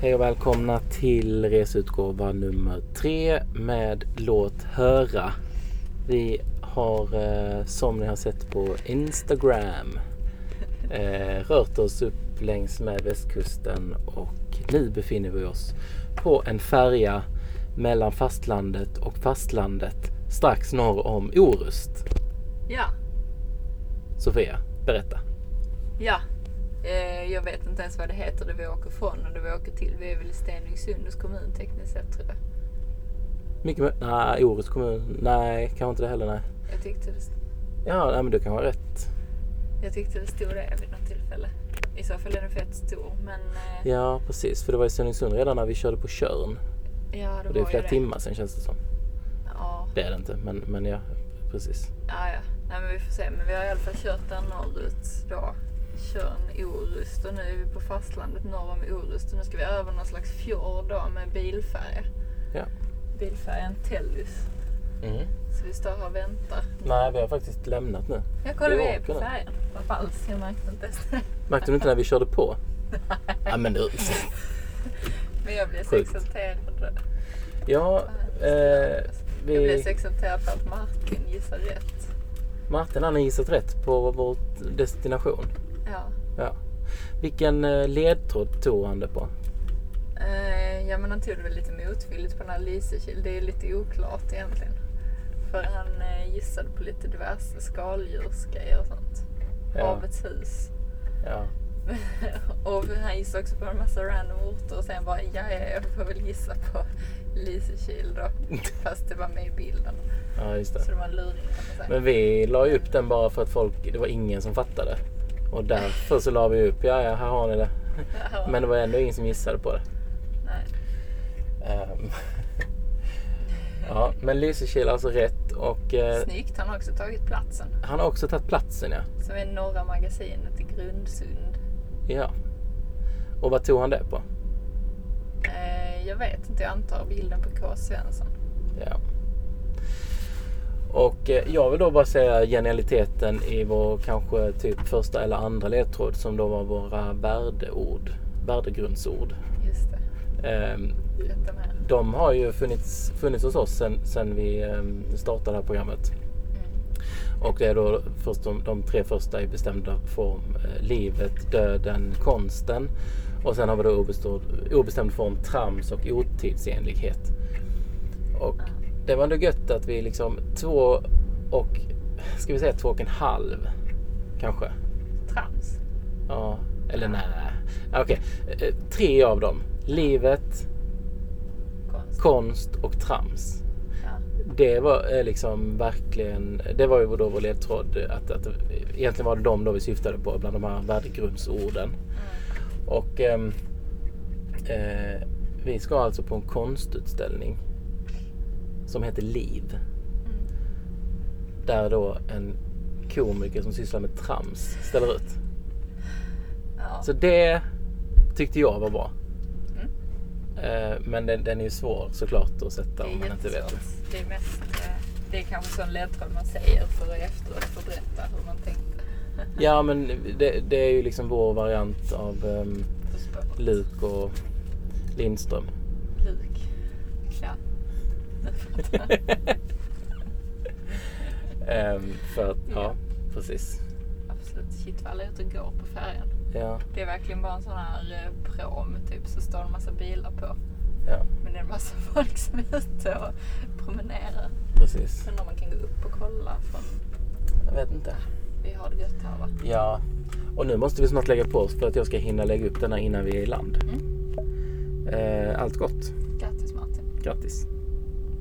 Hej och välkomna till reseutgåva nummer tre med Låt höra. Vi har, eh, som ni har sett på Instagram, eh, rört oss upp längs med västkusten och nu befinner vi oss på en färja mellan fastlandet och fastlandet strax norr om Orust. Ja, Sofia, berätta. ja. Eh, jag vet inte ens vad det heter det vi åker från och det vi åker till. Vi är väl i Stenungsunds kommun tekniskt sett tror jag. Mycket mö- Nej, Orust kommun. Nej, kanske inte det heller. Nej. Jag tyckte det, Ja, nej, men du kan ha rätt. jag tyckte det stod det vid något tillfälle. I så fall är den fett stor men eh, ja, Ja, precis. För det var i Stenungsund redan när vi körde på Körn. det, Och det är var ju flera det. timmar sedan känns det som. Ja, Det är det inte, men, men ja, precis. ja, ja. Nej men vi får se. Men vi har i alla fall kört där norrut då. Körn, Orust och nu är vi på fastlandet norr om Orust och nu ska vi över någon slags fjord då med bilfärja. Ja. Mm. Bilfärjan Tellus. Så vi står här och väntar. Nej, vi har faktiskt lämnat nu. Jag Jo, kollar vi är på kolla. färjan. Vad falskt, jag märkte inte ens det. Märkte du inte när vi körde på? Ja, men du. Men jag blev så Sjukt. exalterad. Ja, eh, Jag blev vi... så exalterad för att Martin gissar rätt. Martin han har gissat rätt på vår destination. Ja. Ja. Vilken eh, ledtråd tog han det på? Eh, ja men han tog det väl lite motvilligt på den här Lysekil. Det är lite oklart egentligen. För han eh, gissade på lite diverse skaldjursgrejer och sånt. Ja. Havets hus. Ja. och han gissade också på en massa random orter och sen bara ja, ja jag får väl gissa på Lysekil då. Fast det var med i bilden. ja, just det. Så det var en luring kan man säga. Men vi la ju upp den bara för att folk, det var ingen som fattade. Och därför så la vi upp, ja ja, här har ni det. Ja. Men det var ändå ingen som gissade på det. Nej. Ehm. ja, men Lysekil alltså rätt och eh, Snyggt, han har också tagit platsen. han har också tagit platsen ja. Som är norra magasinet i Grundsund. ja. Och vad tog han det på? Eh, jag vet inte, jag antar bilden på K. Svensson. Ja. Och eh, jag vill då bara säga genialiteten i vår kanske typ första eller andra ledtråd som då var våra värdeord, värdegrundsord. Just det, Ehm, berätta mer. de har ju funnits, funnits hos oss sen, sen vi ehm, startade det här programmet. Mm. Och det är då först de, de tre första i bestämda form. eh, Livet, döden, konsten. Och sen har vi då obestämd, obestämd form trams och otidsenlighet. Och Ah, det var ändå gött att vi liksom två och, ska vi säga två och en halv kanske? Trams. Ja, eller nej. Ja, Okej, Eh, tre av dem. Livet, Konst. konst och trams. Ja. Mm. Det var eh, liksom verkligen, det var ju då vår ledtråd. eh, Att, att, egentligen var det de då vi syftade på bland de här värdegrundsorden. Mm. Och ehm, eh, vi ska alltså på en konstutställning som heter Liv. Mm. Där då en komiker som sysslar med trams ställer ut. Ja. Så det tyckte jag var bra. Mm. Eh, men den, den är ju svår såklart att Det sätta är om man inte vet. jättesvårt. Det är mest... Eh, det är kanske sån ledtråd man säger för att efteråt berätta hur man tänkte. Ja men det, det är ju liksom vår variant av ehm, På spåret. Luk och Lindström. Luk. Ja. Ehm, för att, ja, Ja. precis. Absolut. Shit vad alla är ute och går på färjan. Ja, Det är verkligen bara en sån här eh, prom typ, så står det en massa bilar på. ja, Men det är en massa folk som är ute och promenerar. precis. Sen om man kan gå upp och kolla från, Jag vet inte. vi har det gött här va? Ja, och nu måste vi snart lägga på oss för att jag ska hinna lägga upp den här innan vi är i land. Mm. Eh, allt gott. Grattis Martin. Grattis.